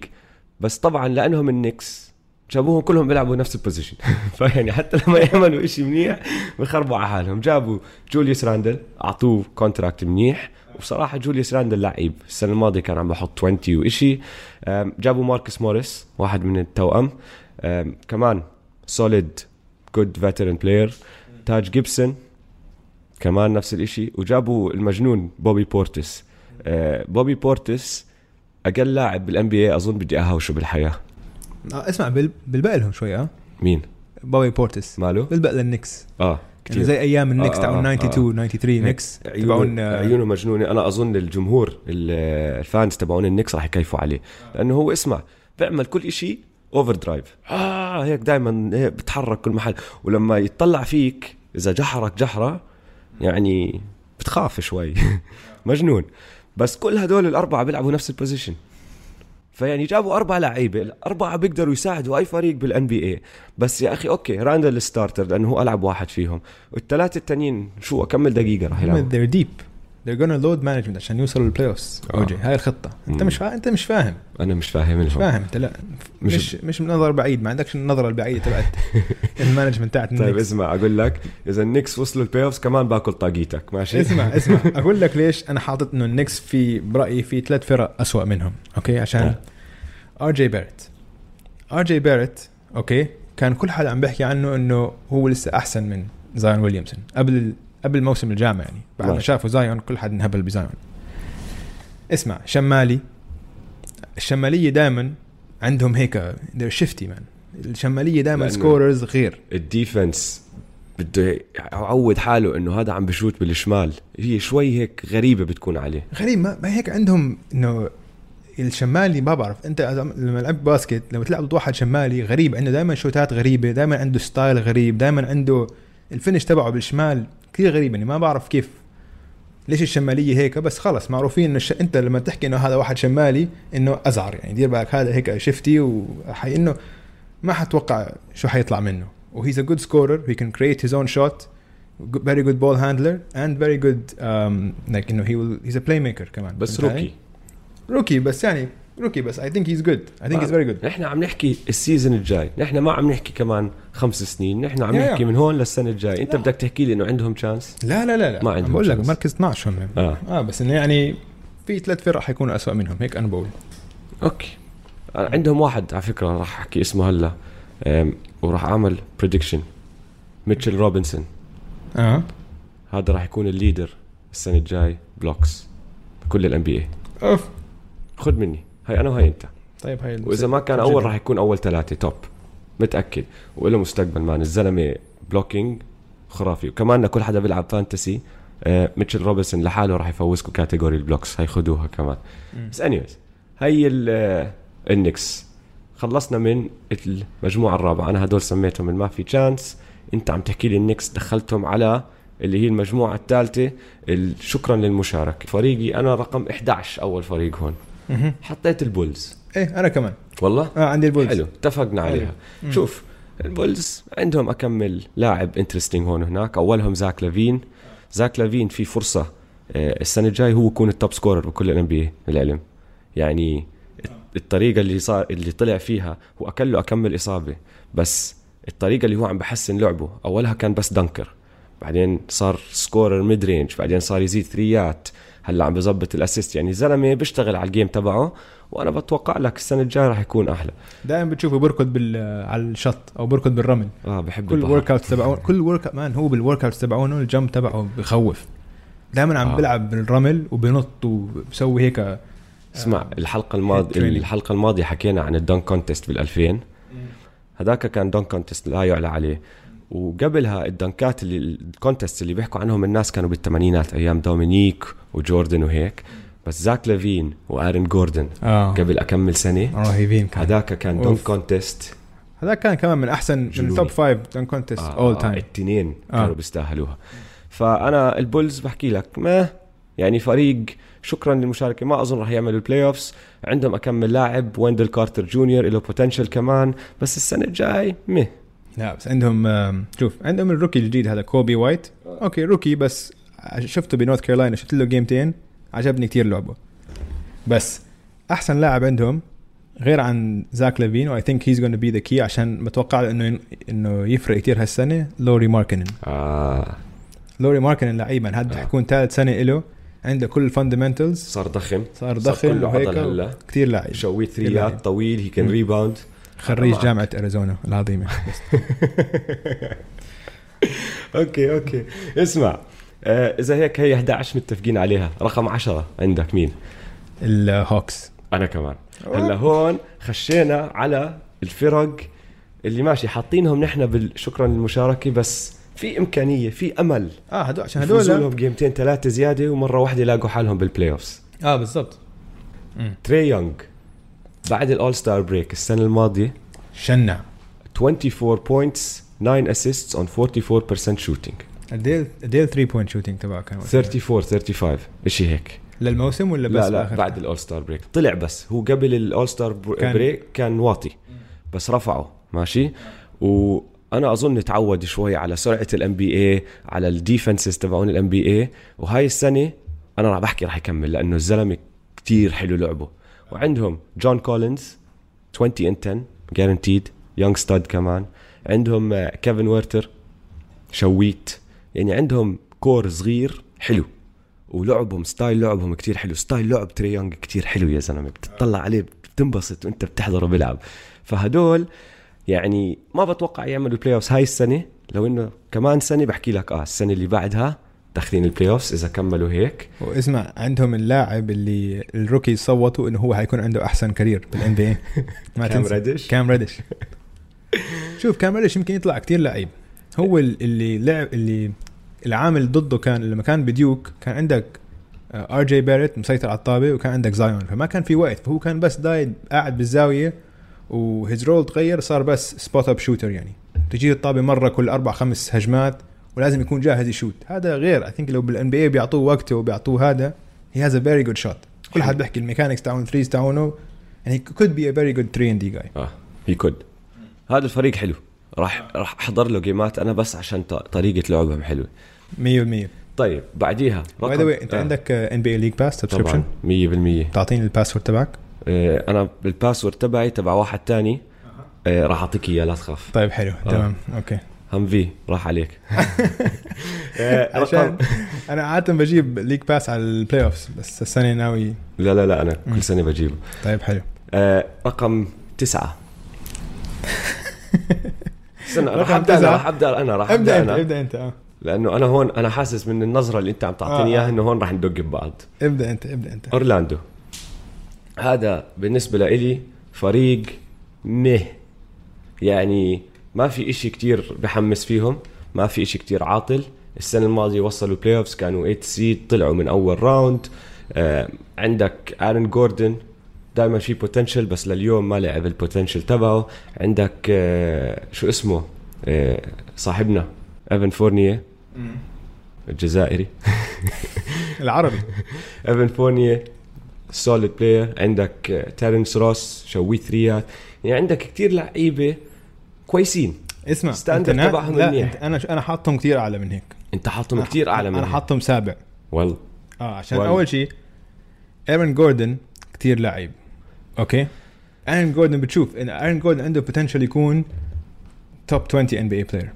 Speaker 1: بس طبعا لأنهم النكس جابوهم كلهم بيلعبوا نفس البوزيشن فيعني حتى لما يعملوا إشي منيح بخربوا على حالهم جابوا جوليوس راندل أعطوه كونتراكت منيح وبصراحة جوليوس راندل لعيب السنة الماضية كان عم بحط 20 وإشي أم، جابوا ماركس موريس واحد من التوأم أم، كمان سوليد جود فيترن بلاير تاج جيبسون كمان نفس الاشي وجابوا المجنون بوبي بورتس آه، بوبي بورتس اقل لاعب بالان بي اي اظن بدي اهاوشه بالحياه
Speaker 2: آه، اسمع بال- بالبق لهم شوي اه
Speaker 1: مين
Speaker 2: بوبي بورتس
Speaker 1: ماله
Speaker 2: بالبق للنكس
Speaker 1: اه
Speaker 2: يعني
Speaker 1: كتير
Speaker 2: زي ايام النكس
Speaker 1: آه، آه،
Speaker 2: تاعون
Speaker 1: آه.
Speaker 2: 92 93 نكس تبعون آه،
Speaker 1: عيونه عيونه مجنونه انا اظن الجمهور ال- الفانز تبعون النكس راح يكيفوا عليه لانه هو اسمع بيعمل كل إشي اوفر درايف اه هيك دائما هيك بتحرك كل محل ولما يتطلع فيك اذا جحرك جحره يعني بتخاف شوي مجنون بس كل هدول الاربعه بيلعبوا نفس البوزيشن فيعني جابوا اربع لعيبه الاربعه بيقدروا يساعدوا اي فريق بالان بي اي بس يا اخي اوكي راندل ستارتر لانه هو العب واحد فيهم والثلاثه التانيين شو اكمل دقيقه راح يلعبوا
Speaker 2: they're deep they're gonna load management عشان يوصلوا للبلاي اوفز
Speaker 1: آه.
Speaker 2: اوجي هاي الخطه انت
Speaker 1: مم.
Speaker 2: مش فا... انت مش فاهم
Speaker 1: انا مش فاهم
Speaker 2: مش
Speaker 1: الهم
Speaker 2: فاهم انت لا
Speaker 1: مش-
Speaker 2: مش مش, مش من نظر بعيد ما عندكش النظره البعيده تبعت المانجمنت تاعت
Speaker 1: طيب
Speaker 2: النكس.
Speaker 1: اسمع اقول لك اذا النكس وصلوا البلاي اوفز كمان باكل طاقيتك ماشي
Speaker 2: اسمع اسمع اقول لك ليش انا حاطط انه النكس في برايي في ثلاث فرق اسوء منهم اوكي
Speaker 1: طيب.
Speaker 2: عشان ار جي بيرت ار جي بيرت اوكي كان كل حدا عم بيحكي عنه انه هو لسه احسن من زايون ويليامسون قبل ال- قبل موسم الجامعه يعني بعد ما
Speaker 1: Right.
Speaker 2: شافوا زايون كل حد انهبل بزايون اسمع شمالي الشماليه دائما عندهم هيك they're شيفتي مان الشماليه دائما
Speaker 1: لأنه-
Speaker 2: سكوررز غير
Speaker 1: الديفنس بده يعود حاله انه هذا عم بشوت بالشمال هي شوي هيك غريبه بتكون عليه
Speaker 2: غريب ما, ما هيك عندهم انه الشمالي ما بعرف انت أز- لما لعبت باسكت لما تلعب ضد واحد شمالي غريب عنده دائما شوتات غريبه دائما عنده ستايل غريب دائما عنده الفينش تبعه بالشمال كثير غريب يعني ما بعرف كيف ليش الشماليه هيك بس خلص معروفين انه الش... انت لما تحكي انه هذا واحد شمالي انه ازعر يعني دير بالك هذا هيك شفتي وحي انه ما حتوقع شو حيطلع منه وهيز ا جود سكورر هي كان كريت هيز اون شوت very good ball handler and very good um, like you know he will he's a playmaker كمان
Speaker 1: بس
Speaker 2: فهمت علي؟
Speaker 1: روكي
Speaker 2: روكي بس يعني روكي بس I think he's good I think he's very good
Speaker 1: نحن عم نحكي السيزون الجاي نحن ما عم نحكي كمان خمس سنين نحن عم
Speaker 2: يا- يا.
Speaker 1: نحكي من هون للسنه الجاي انت
Speaker 2: لا.
Speaker 1: بدك تحكي لي انه عندهم تشانس
Speaker 2: لا لا لا لا
Speaker 1: ما
Speaker 2: عم
Speaker 1: عندهم
Speaker 2: بقول لك
Speaker 1: شمس.
Speaker 2: مركز 12 هم
Speaker 1: اه
Speaker 2: اه بس انه يعني في ثلاث فرق حيكونوا أسوأ منهم هيك انا بقول
Speaker 1: اوكي عندهم واحد على فكره راح احكي اسمه هلا أم، وراح اعمل بريدكشن ميتشل روبنسون
Speaker 2: اه
Speaker 1: هذا راح يكون الليدر السنه الجاي بلوكس كل الان بي اي
Speaker 2: اوف
Speaker 1: خد مني هاي انا وهاي انت
Speaker 2: طيب هاي ال-
Speaker 1: واذا ما كان
Speaker 2: جداً.
Speaker 1: اول راح يكون اول ثلاثه توب متاكد وله مستقبل مان الزلمه بلوكينج خرافي وكمان لكل حدا بيلعب فانتسي آه، ميتشل روبنسون لحاله راح يفوزكم كاتيجوري البلوكس هاي خدوها كمان
Speaker 2: مم.
Speaker 1: بس انيويز هي ال- آه، النكس خلصنا من المجموعه الرابعه انا هدول سميتهم الما في تشانس انت عم تحكي لي النكس دخلتهم على اللي هي المجموعه الثالثه ال- شكرا للمشاركه فريقي انا رقم 11 اول فريق هون
Speaker 2: مهم.
Speaker 1: حطيت البولز
Speaker 2: ايه انا كمان
Speaker 1: والله
Speaker 2: اه عندي البولز
Speaker 1: حلو اتفقنا
Speaker 2: حلو.
Speaker 1: عليها
Speaker 2: مم.
Speaker 1: شوف البولز عندهم اكمل لاعب انترستينج هون وهناك اولهم زاك لافين زاك لافين في فرصه آه، السنه الجاي هو يكون التوب سكورر بكل الان بي العلم يعني الطريقه اللي صار اللي طلع فيها هو اكل له اكمل اصابه بس الطريقه اللي هو عم بحسن لعبه اولها كان بس دنكر بعدين صار سكورر ميد رينج بعدين صار يزيد ثريات هلا عم بظبط الاسيست يعني زلمه بيشتغل على الجيم تبعه وانا بتوقع لك السنه الجايه راح يكون احلى
Speaker 2: دائما بتشوفه بركض بال آه، على الشط او بركض بالرمل
Speaker 1: اه بحب
Speaker 2: كل
Speaker 1: البحر
Speaker 2: ورك اوت تبعونه كل ورك مان هو بالورك اوت تبعونه الجمب تبعه بخوف دائما عم
Speaker 1: آه.
Speaker 2: آه. بيلعب بالرمل وبنط وبسوي هيك آه،
Speaker 1: اسمع الحلقه الماضيه
Speaker 2: training.
Speaker 1: الحلقه الماضيه حكينا عن الدون كونتست بال2000 هذاك كان دون كونتست لا يعلى عليه وقبلها الدنكات اللي الكونتست اللي بيحكوا عنهم الناس كانوا بالثمانينات ايام دومينيك وجوردن وهيك بس زاك لافين وارن جوردن
Speaker 2: اه
Speaker 1: قبل اكمل سنه
Speaker 2: رهيبين كان
Speaker 1: هذاك كان دون
Speaker 2: أوف.
Speaker 1: كونتست
Speaker 2: هذا كان كمان من احسن من
Speaker 1: جنوني.
Speaker 2: التوب فايف دان كونتست اول تايم
Speaker 1: التنين
Speaker 2: آه.
Speaker 1: آه، كانوا بيستاهلوها فانا البولز بحكي لك ما يعني فريق شكرا للمشاركه ما اظن راح يعملوا البلاي اوفس عندهم اكمل لاعب ويندل كارتر جونيور له بوتنشل كمان بس السنه الجاي مه
Speaker 2: لا بس عندهم آم، شوف عندهم الروكي الجديد هذا كوبي وايت اوكي روكي بس ع- شفته بنورث كارولاينا شفت له جيمتين عجبني كتير لعبه بس احسن لاعب عندهم غير عن زاك لافين واي ثينك هيز gonna بي ذا كي عشان بتوقع انه انه يفرق كتير هالسنه لوري ماركنن
Speaker 1: آه
Speaker 2: لوري ماركنن لعيبا هاد
Speaker 1: آه.
Speaker 2: حيكون ثالث سنه له عنده كل الفاندمنتلز
Speaker 1: صار ضخم
Speaker 2: صار
Speaker 1: صار
Speaker 2: ضخم
Speaker 1: كله عضل
Speaker 2: وهيك
Speaker 1: هلا
Speaker 2: كثير لعيب
Speaker 1: شويت
Speaker 2: لاعب.
Speaker 1: ثريات طويل هي كان
Speaker 2: مم.
Speaker 1: ريباوند
Speaker 2: خريج
Speaker 1: معك.
Speaker 2: جامعه اريزونا العظيمه
Speaker 1: اوكي اوكي اسمع آه اذا هيك هي 11 متفقين عليها رقم 10 عندك مين
Speaker 2: الهوكس
Speaker 1: انا كمان هلا هون خشينا على الفرق اللي ماشي حاطينهم نحن بال- شكرا للمشاركه بس في امكانيه في امل
Speaker 2: اه هدول عشان
Speaker 1: يفوزوا
Speaker 2: هدول
Speaker 1: لهم جيمتين ثلاثه زياده ومره واحده يلاقوا حالهم بالبلاي اوفز
Speaker 2: اه بالضبط
Speaker 1: تري يونغ بعد الاول ستار بريك السنه الماضيه
Speaker 2: شنع
Speaker 1: 24 بوينتس 9 اسيستس اون 44% شوتينج
Speaker 2: قد ايه قد ايه 3 بوينت شوتنج تبعه كان وقتها؟
Speaker 1: 34 35 شيء هيك
Speaker 2: للموسم ولا بس
Speaker 1: لا لا
Speaker 2: آخر؟
Speaker 1: بعد الاول ستار بريك طلع بس هو قبل الاول ستار
Speaker 2: كان-
Speaker 1: بريك كان واطي بس رفعه ماشي وانا اظن تعود شوي على سرعه الام بي اي على الديفنسز تبعون الام بي اي وهاي السنه انا راح بحكي راح يكمل لانه الزلمه كتير حلو لعبه وعندهم جون كولينز 20 ان 10 جارانتيد يونغ ستاد كمان عندهم آه، كيفن ويرتر شويت يعني عندهم كور صغير حلو ولعبهم ستايل لعبهم كتير حلو ستايل لعب تري يونغ كتير حلو يا زلمه بتطلع عليه بتنبسط وانت بتحضره بيلعب فهدول يعني ما بتوقع يعملوا بلاي اوفز هاي السنه لو انه كمان سنه بحكي لك اه السنه اللي بعدها داخلين البلاي اوفز اذا كملوا هيك
Speaker 2: واسمع عندهم اللاعب اللي الروكي صوتوا انه هو حيكون عنده احسن كارير بالان بي اي ما
Speaker 1: كام
Speaker 2: تنسى
Speaker 1: ريدش؟
Speaker 2: كام ريدش شوف كام ريدش يمكن يطلع كتير لعيب هو ال- اللي لعب اللي العامل ضده كان لما كان بديوك كان عندك آه، ار جي باريت مسيطر على الطابه وكان عندك زايون فما كان في وقت فهو كان بس دايد قاعد بالزاويه وهيز رول تغير صار بس سبوت اب شوتر يعني تجيه الطابه مره كل اربع خمس هجمات ولازم يكون جاهز يشوت هذا غير اي ثينك لو بالان بي اي بيعطوه وقته وبيعطوه هذا هي هاز ا فيري جود شوت كل حد بيحكي الميكانكس تاعون ثريز تاعونه يعني كود بي ا فيري جود 3 دي جاي
Speaker 1: اه هي كود هذا الفريق حلو راح راح احضر له جيمات انا بس عشان ط- طريقه لعبهم حلوه
Speaker 2: 100%
Speaker 1: طيب بعديها
Speaker 2: باي ذا
Speaker 1: آه.
Speaker 2: واي انت عندك ان بي اي ليج باس سبسكريبشن
Speaker 1: طبعا 100%
Speaker 2: تعطيني الباسورد تبعك
Speaker 1: آه، انا الباسورد تبعي تبع واحد تاني آه، راح اعطيك اياه لا تخاف
Speaker 2: طيب حلو تمام اوكي
Speaker 1: هم في راح عليك آه،
Speaker 2: عشان
Speaker 1: رقم
Speaker 2: انا عاده بجيب ليج باس على البلاي اوفز بس السنه ناوي
Speaker 1: لا لا لا انا كل سنه بجيبه
Speaker 2: طيب حلو
Speaker 1: آه، رقم تسعة استنى راح
Speaker 2: رقم
Speaker 1: ابدا
Speaker 2: تسعة.
Speaker 1: أنا، راح ابدا انا راح
Speaker 2: ابدا
Speaker 1: ابدا
Speaker 2: انت
Speaker 1: انا
Speaker 2: ابدا انت اه
Speaker 1: لانه انا هون انا حاسس من النظره اللي انت عم تعطيني
Speaker 2: آه.
Speaker 1: اياها انه هون راح ندق ببعض
Speaker 2: ابدا انت ابدا انت
Speaker 1: اورلاندو هذا بالنسبه لإلي فريق مه يعني ما في إشي كتير بحمس فيهم ما في إشي كتير عاطل السنه الماضيه وصلوا بلاي اوفز كانوا 8 سيد طلعوا من اول راوند آه عندك ارن جوردن دائما في بوتنشل بس لليوم ما لعب البوتنشل تبعه عندك آه شو اسمه آه صاحبنا ايفن فورنيه الجزائري
Speaker 2: العربي
Speaker 1: ايفن فورنيه سوليد بلاير عندك آه، تيرنس روس شوي ثريات يعني عندك كتير لعيبه كويسين
Speaker 2: اسمع
Speaker 1: ستاندرد
Speaker 2: أنت نا-
Speaker 1: تبعهم
Speaker 2: لا
Speaker 1: منيح.
Speaker 2: أنت- انا انا حاطهم كثير اعلى من هيك
Speaker 1: انت حاطهم كتير اعلى من
Speaker 2: انا حاطهم سابع
Speaker 1: والله
Speaker 2: اه عشان
Speaker 1: وال-
Speaker 2: اول شيء ايرن جوردن كتير لعيب اوكي ايرن جوردن بتشوف ان ايرن جوردن عنده بوتنشل يكون توب 20 ان بي اي بلاير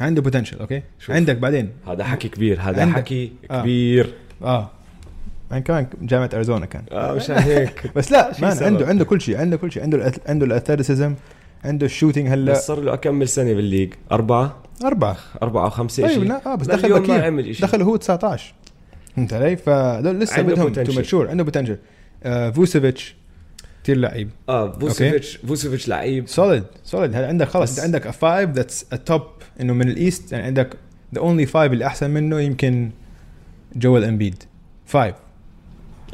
Speaker 2: عنده بوتنشل اوكي
Speaker 1: شوف.
Speaker 2: شوف. عندك بعدين
Speaker 1: هذا حكي كبير هذا
Speaker 2: عندك-
Speaker 1: حكي
Speaker 2: آه.
Speaker 1: كبير
Speaker 2: اه يعني كمان جامعه اريزونا كان
Speaker 1: اه مشان هيك
Speaker 2: بس لا مان
Speaker 1: سبب؟
Speaker 2: عنده عنده كل شيء عنده كل شيء عنده الأث- عنده الاثليسيزم عنده الشوتينج هلا
Speaker 1: بس صار له اكمل سنه بالليج اربعه
Speaker 2: اربعه
Speaker 1: اربعه او خمسه
Speaker 2: طيب
Speaker 1: إشي.
Speaker 2: لا اه بس
Speaker 1: ما
Speaker 2: دخل
Speaker 1: اليوم
Speaker 2: بكير
Speaker 1: ما عمل شيء
Speaker 2: دخل هو 19 فهمت علي؟ فدول لسه
Speaker 1: عنده
Speaker 2: بدهم تو
Speaker 1: potential.
Speaker 2: ماتشور عنده بوتنشل آه فوسيفيتش كثير لعيب
Speaker 1: اه فوسيفيتش فوسيفيتش لعيب
Speaker 2: سوليد سوليد هلا عندك خلص
Speaker 1: بس-
Speaker 2: انت عندك فايف ذاتس توب انه من الايست يعني عندك ذا اونلي فايف اللي احسن منه يمكن جوال امبيد فايف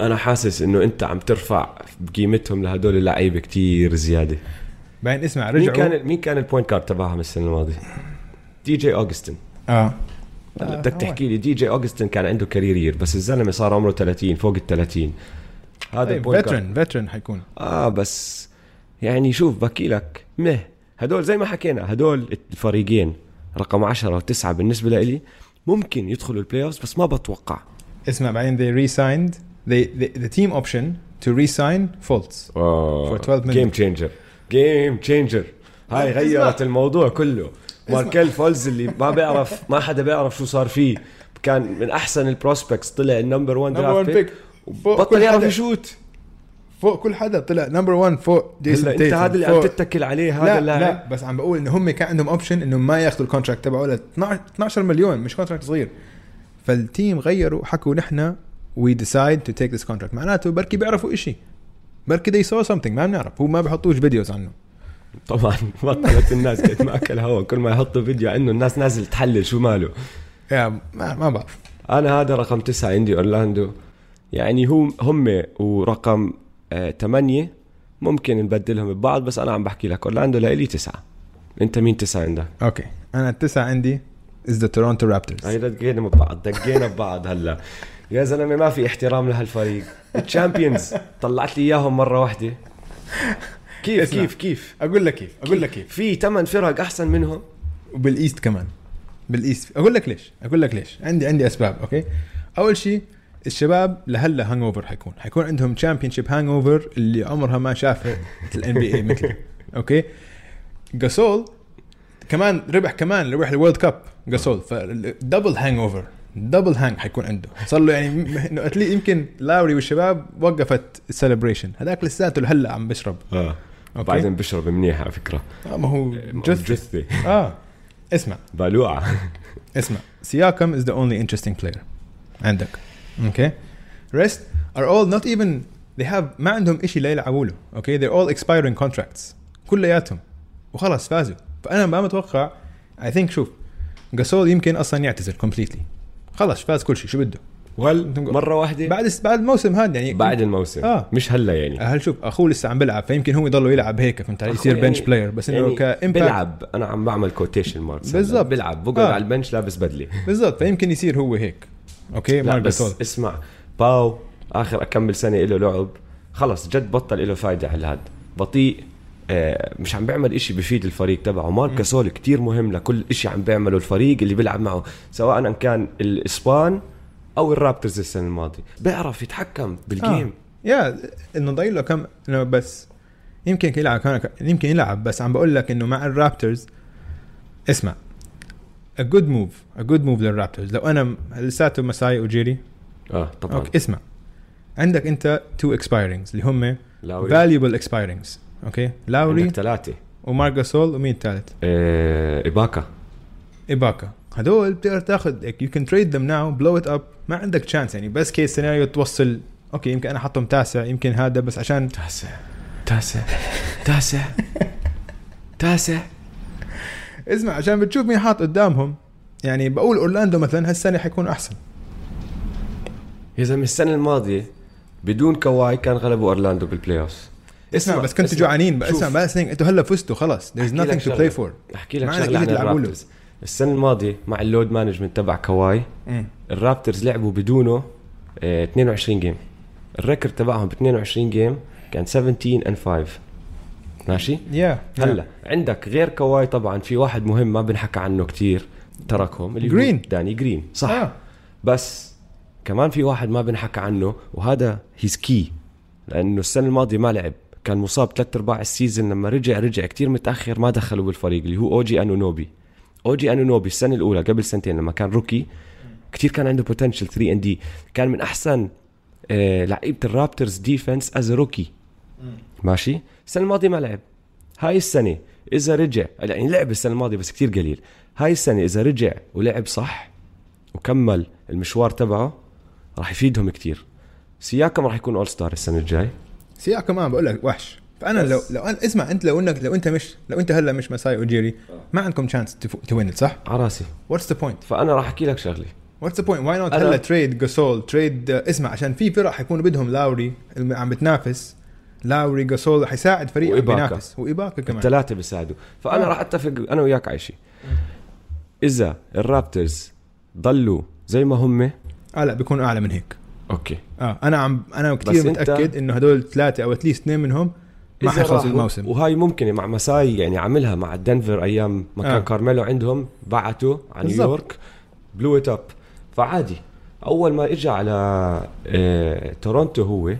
Speaker 1: انا حاسس انه انت عم ترفع قيمتهم لهدول اللعيبه كتير زياده
Speaker 2: بعدين اسمع
Speaker 1: مين
Speaker 2: رجعوا
Speaker 1: كان مين كان البوينت كارد تبعهم السنه الماضيه دي جي اوغستن
Speaker 2: اه
Speaker 1: هلا
Speaker 2: آه،
Speaker 1: بدك
Speaker 2: هو.
Speaker 1: تحكي لي دي جي اوغستن كان عنده كارير يير بس الزلمه صار عمره 30 فوق ال 30 هذا
Speaker 2: طيب
Speaker 1: البوينت كارد.
Speaker 2: فيترن فيترن حيكون
Speaker 1: اه بس يعني شوف بحكي لك مه هدول زي ما حكينا هدول الفريقين رقم 10 و9 بالنسبه لإلي ممكن يدخلوا البلاي اوفز بس ما بتوقع
Speaker 2: اسمع بعدين they re-signed they, they, the team option to re-sign Fultz
Speaker 1: اه
Speaker 2: For 12
Speaker 1: جيم تشينجر جيم تشينجر هاي
Speaker 2: اسمع.
Speaker 1: غيرت الموضوع كله ماركل فولز اللي ما بيعرف ما حدا بيعرف شو صار فيه كان من احسن البروسبكتس طلع النمبر 1 درافت بيك بطل يعرف يشوت
Speaker 2: فوق كل حدا طلع نمبر 1 فوق جيسون
Speaker 1: هلا انت
Speaker 2: تيتم،
Speaker 1: هذا اللي
Speaker 2: فوق-
Speaker 1: عم تتكل عليه هذا
Speaker 2: لا
Speaker 1: اللاعب
Speaker 2: لا بس عم بقول ان هم كان عندهم اوبشن انهم ما ياخذوا الكونتراكت تبعه ل 12 مليون مش كونتراكت صغير فالتيم غيروا حكوا نحن وي ديسايد تو تيك ذيس كونتراكت معناته بركي بيعرفوا إشي بركي they saw something ما بنعرف هو ما بحطوش فيديوز عنه
Speaker 1: طبعا بطلت الناس قد ما اكل هوا كل ما يحطوا فيديو عنه الناس نازل تحلل شو ماله
Speaker 2: يا ما, ما بعرف
Speaker 1: انا هذا رقم تسعة عندي اورلاندو يعني هم هم ورقم آه ثمانية ممكن نبدلهم ببعض بس انا عم بحكي لك اورلاندو لإلي تسعة انت مين تسعة عندك؟
Speaker 2: اوكي انا التسعه عندي از ذا تورونتو رابترز
Speaker 1: يعني دقينا ببعض دقينا ببعض هلا يا زلمه ما في احترام لهالفريق الشامبيونز طلعت لي اياهم مره واحده كيف
Speaker 2: اسمع.
Speaker 1: كيف كيف
Speaker 2: اقول لك كيف اقول لك إيه. كيف
Speaker 1: في ثمان فرق احسن منهم
Speaker 2: وبالايست كمان بالايست اقول لك ليش اقول لك ليش عندي عندي اسباب اوكي اول شيء الشباب لهلا هانج اوفر حيكون حيكون عندهم تشامبيون شيب هانج اوفر اللي عمرها ما شافها الان بي اي مثلي اوكي جاسول كمان ربح كمان ربح الورلد كاب جاسول فدبل هانج اوفر دبل هانج حيكون عنده صار له يعني م- انه أتلي- يمكن لاوري والشباب وقفت السيلبريشن هذاك لساته لهلا عم بشرب
Speaker 1: اه
Speaker 2: أوكي.
Speaker 1: بعدين بشرب منيح على فكره
Speaker 2: آه، ما هو جث
Speaker 1: جثه
Speaker 2: اه اسمع
Speaker 1: بالوعه
Speaker 2: اسمع سياكم is the only interesting player عندك اوكي rest are all not even they have ما عندهم إشي لا يلعبوا له اوكي they're all expiring contracts كلياتهم وخلاص فازوا فانا ما متوقع I think شوف جاسول يمكن اصلا يعتزل completely خلاص فاز كل شيء شو بده
Speaker 1: وال مره واحده
Speaker 2: بعد بعد الموسم هذا يعني
Speaker 1: بعد الموسم
Speaker 2: آه.
Speaker 1: مش هلا يعني
Speaker 2: هل شوف اخوه لسه عم بيلعب فيمكن هو يضل يلعب هيك فهمت علي
Speaker 1: أخوي
Speaker 2: يصير
Speaker 1: يعني-
Speaker 2: بنش بلاير بس انه
Speaker 1: يعني
Speaker 2: كامباكت
Speaker 1: بلعب انا عم بعمل كوتيشن ماركس هلا.
Speaker 2: بالضبط.
Speaker 1: بلعب بقعد
Speaker 2: آه.
Speaker 1: على البنش لابس بدله
Speaker 2: بالضبط فيمكن يصير هو هيك اوكي
Speaker 1: لا
Speaker 2: مع
Speaker 1: بس
Speaker 2: جاسول
Speaker 1: اسمع باو اخر اكمل سنه له لعب خلص جد بطل له فايده على هاد بطيء آه، مش عم بيعمل إشي بفيد الفريق تبعه مارك جاسول كتير مهم لكل إشي عم بيعمله الفريق اللي بيلعب معه سواء أن كان الاسبان او الرابترز السنه الماضيه بيعرف يتحكم بالجيم
Speaker 2: آه. يا انه ضايل له كم انه بس يمكن يلعب كان يمكن يلعب بس عم بقول لك انه مع الرابترز اسمع a good move a good move للرابترز لو انا م- لساته مساي وجيري
Speaker 1: اه, آه طبعا
Speaker 2: اوكي اسمع عندك انت تو expiring's اللي هم
Speaker 1: لاوري
Speaker 2: valuable expiring's اوكي لاوري
Speaker 1: عندك ثلاثه
Speaker 2: ومارك جاسول ومين الثالث؟
Speaker 1: آه إباكا
Speaker 2: ايباكا هدول بتقدر تاخذ يو كان تريد them ناو بلو ات اب ما عندك تشانس يعني بس كيس سيناريو توصل اوكي يمكن انا حطهم تاسع يمكن هذا بس عشان
Speaker 1: تاسع تاسع تاسع تاسع
Speaker 2: اسمع عشان بتشوف مين حاط قدامهم يعني بقول اورلاندو مثلا هالسنه حيكون احسن
Speaker 1: يا زلمه السنه الماضيه بدون كواي كان غلبوا اورلاندو بالبلاي اوف
Speaker 2: اسمع بس كنتوا جوعانين بس اسمع بس هيك، انتوا هلا فزتوا خلاص there's
Speaker 1: أحكي لك
Speaker 2: nothing to
Speaker 1: شغلة.
Speaker 2: play for
Speaker 1: احكي لك
Speaker 2: ما عندك
Speaker 1: شغله
Speaker 2: إيدي
Speaker 1: عن
Speaker 2: تلعبوا له.
Speaker 1: الرابترز السنه الماضيه مع اللود مانجمنت تبع كواي الرابترز لعبوا بدونه آه، 22 جيم الريكورد تبعهم ب 22 جيم كان 17 ان 5 ماشي
Speaker 2: يا
Speaker 1: هلا عندك غير كواي طبعا في واحد مهم ما بنحكى عنه كتير تركهم اللي هو
Speaker 2: جرين.
Speaker 1: داني جرين صح
Speaker 2: آه.
Speaker 1: بس كمان في واحد ما بنحكى عنه وهذا هيز كي لانه السنه الماضيه ما لعب كان مصاب ثلاث ارباع السيزون لما رجع رجع كتير متاخر ما دخلوا بالفريق اللي هو اوجي انونوبي اوجي انونوبي السنه الاولى قبل سنتين لما كان روكي كتير كان عنده بوتنشل 3 ان دي كان من احسن آه لعيبه الرابترز ديفنس از روكي ماشي السنه الماضيه ما لعب هاي السنه اذا رجع يعني لعب السنه الماضيه بس كتير قليل هاي السنه اذا رجع ولعب صح وكمل المشوار تبعه راح يفيدهم كتير سياكم راح يكون اول ستار السنه الجاي
Speaker 2: سياق كمان بقول لك وحش فانا لو لو أنا اسمع انت لو انك لو انت مش لو انت هلا مش مساي وجيري
Speaker 1: آه.
Speaker 2: ما عندكم chance تو وين صح؟
Speaker 1: على راسي
Speaker 2: واتس ذا بوينت؟
Speaker 1: فانا راح احكي لك شغله
Speaker 2: واتس ذا بوينت؟ واي نوت
Speaker 1: أنا-
Speaker 2: هلا تريد جاسول تريد آه، اسمع عشان في فرق حيكون بدهم لاوري اللي عم بتنافس لاوري جاسول حيساعد فريق عم
Speaker 1: وإيباكا.
Speaker 2: بينافس وايباكا كمان
Speaker 1: الثلاثه بيساعدوا فانا
Speaker 2: آه.
Speaker 1: راح اتفق انا وياك على شيء اذا الرابترز ضلوا زي ما هم
Speaker 2: اه لا بيكونوا اعلى من هيك
Speaker 1: اوكي
Speaker 2: اه انا عم انا كثير
Speaker 1: أنت-
Speaker 2: متاكد انه هدول ثلاثه او اتليست اثنين منهم
Speaker 1: إذا
Speaker 2: ما حيخلصوا
Speaker 1: راحوا-
Speaker 2: الموسم
Speaker 1: وهاي ممكنه مع مساي يعني عاملها مع دنفر ايام ما كان
Speaker 2: آه.
Speaker 1: آه. كارميلو عندهم بعته على
Speaker 2: بالضبط.
Speaker 1: نيويورك بلو ات اب فعادي اول ما اجى على آه، تورونتو هو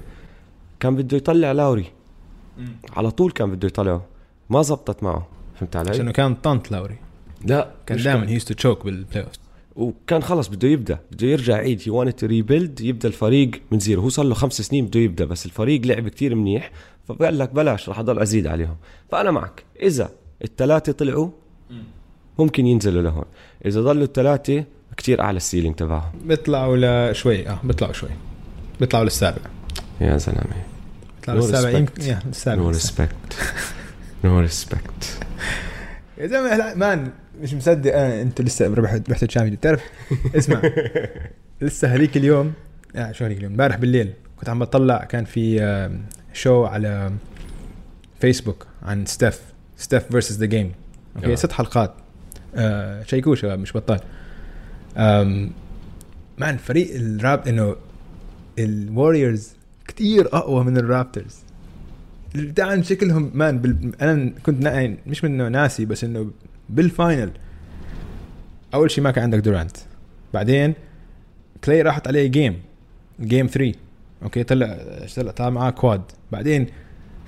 Speaker 1: كان بده يطلع لاوري على طول كان بده يطلعه ما زبطت معه فهمت علي؟
Speaker 2: عشان كان طنط لاوري
Speaker 1: لا
Speaker 2: كان
Speaker 1: مش
Speaker 2: دائما هي تو تشوك بالبلاي اوف
Speaker 1: وكان خلص بده يبدا بده يرجع عيد هي وانت ريبيلد يبدا الفريق من زيرو هو صار له خمس سنين بده يبدا بس الفريق لعب كتير منيح فقال لك بلاش رح اضل ازيد عليهم فانا معك اذا الثلاثه طلعوا ممكن ينزلوا لهون اذا ضلوا الثلاثه كتير اعلى السيلينج تبعهم
Speaker 2: بيطلعوا لشوي اه بيطلعوا شوي بيطلعوا للسابع
Speaker 1: يا زلمه
Speaker 2: بيطلعوا
Speaker 1: No
Speaker 2: للسابع
Speaker 1: respect.
Speaker 2: يمكن يا
Speaker 1: نو
Speaker 2: السابع
Speaker 1: ريسبكت نو ريسبكت
Speaker 2: يا زلمه لا، مان مش مصدق انا انتوا لسه ربحت ربحت الشامبيون بتعرف اسمع لسه هذيك اليوم آه شو هذيك اليوم امبارح بالليل كنت عم بطلع كان في آه، شو على فيسبوك عن ستيف ستيف فيرسز ذا جيم اوكي
Speaker 1: آه.
Speaker 2: ست حلقات آه شيكوه شباب مش بطال آم، مان فريق الراب انه الوريورز كتير اقوى من الرابترز دعم شكلهم مان بال... انا كنت نا... يعني مش منه ناسي بس انه بالفاينل اول شيء ما كان عندك دورانت بعدين كلاي راحت عليه جيم جيم 3 اوكي طلع طلع طلع معاه كواد بعدين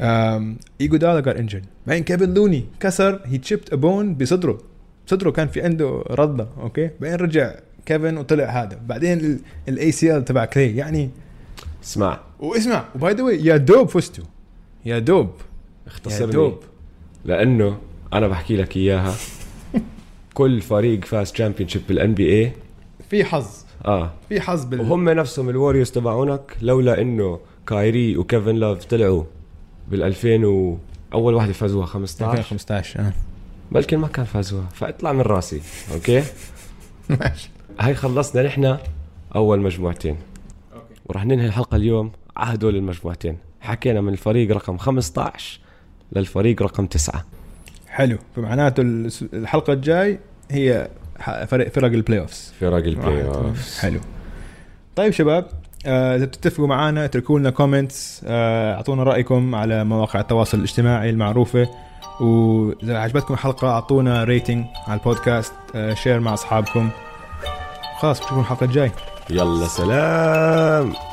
Speaker 2: آم، ايجو دالا جار انجن بعدين كيفن لوني كسر هي تشيبت بون بصدره صدره كان في عنده رضه اوكي بعدين رجع كيفن وطلع هذا بعدين الاي سي ال تبع كلاي يعني
Speaker 1: اسمع
Speaker 2: واسمع وباي ذا واي يا دوب فزتوا يا دوب يا
Speaker 1: اختصر لي
Speaker 2: دوب
Speaker 1: لانه انا بحكي لك اياها كل فريق فاز تشامبيون شيب بالان بي اي
Speaker 2: في حظ
Speaker 1: اه
Speaker 2: في حظ بال
Speaker 1: وهم نفسهم الوريوز تبعونك لولا انه كايري وكيفن لوف طلعوا بال 2000 و اول وحده فازوها 15
Speaker 2: 2015
Speaker 1: آه.
Speaker 2: اه
Speaker 1: بلكن ما كان فازوها فاطلع من راسي اوكي
Speaker 2: ماشي
Speaker 1: هاي خلصنا نحن اول مجموعتين
Speaker 2: أوكي.
Speaker 1: ورح ننهي الحلقه اليوم على هدول المجموعتين حكينا من الفريق رقم 15 للفريق رقم 9
Speaker 2: حلو فمعناته الس- الحلقه الجاي هي ح- فرق فرق البلاي اوفز
Speaker 1: فرق البلاي
Speaker 2: واحد.
Speaker 1: اوف
Speaker 2: حلو طيب شباب آه، اذا بتتفقوا معنا اتركوا لنا كومنتس اعطونا رايكم على مواقع التواصل الاجتماعي المعروفه واذا عجبتكم الحلقه اعطونا ريتنج على البودكاست آه، شير مع اصحابكم خلاص بتشوفوا الحلقه الجايه
Speaker 1: يلا سلام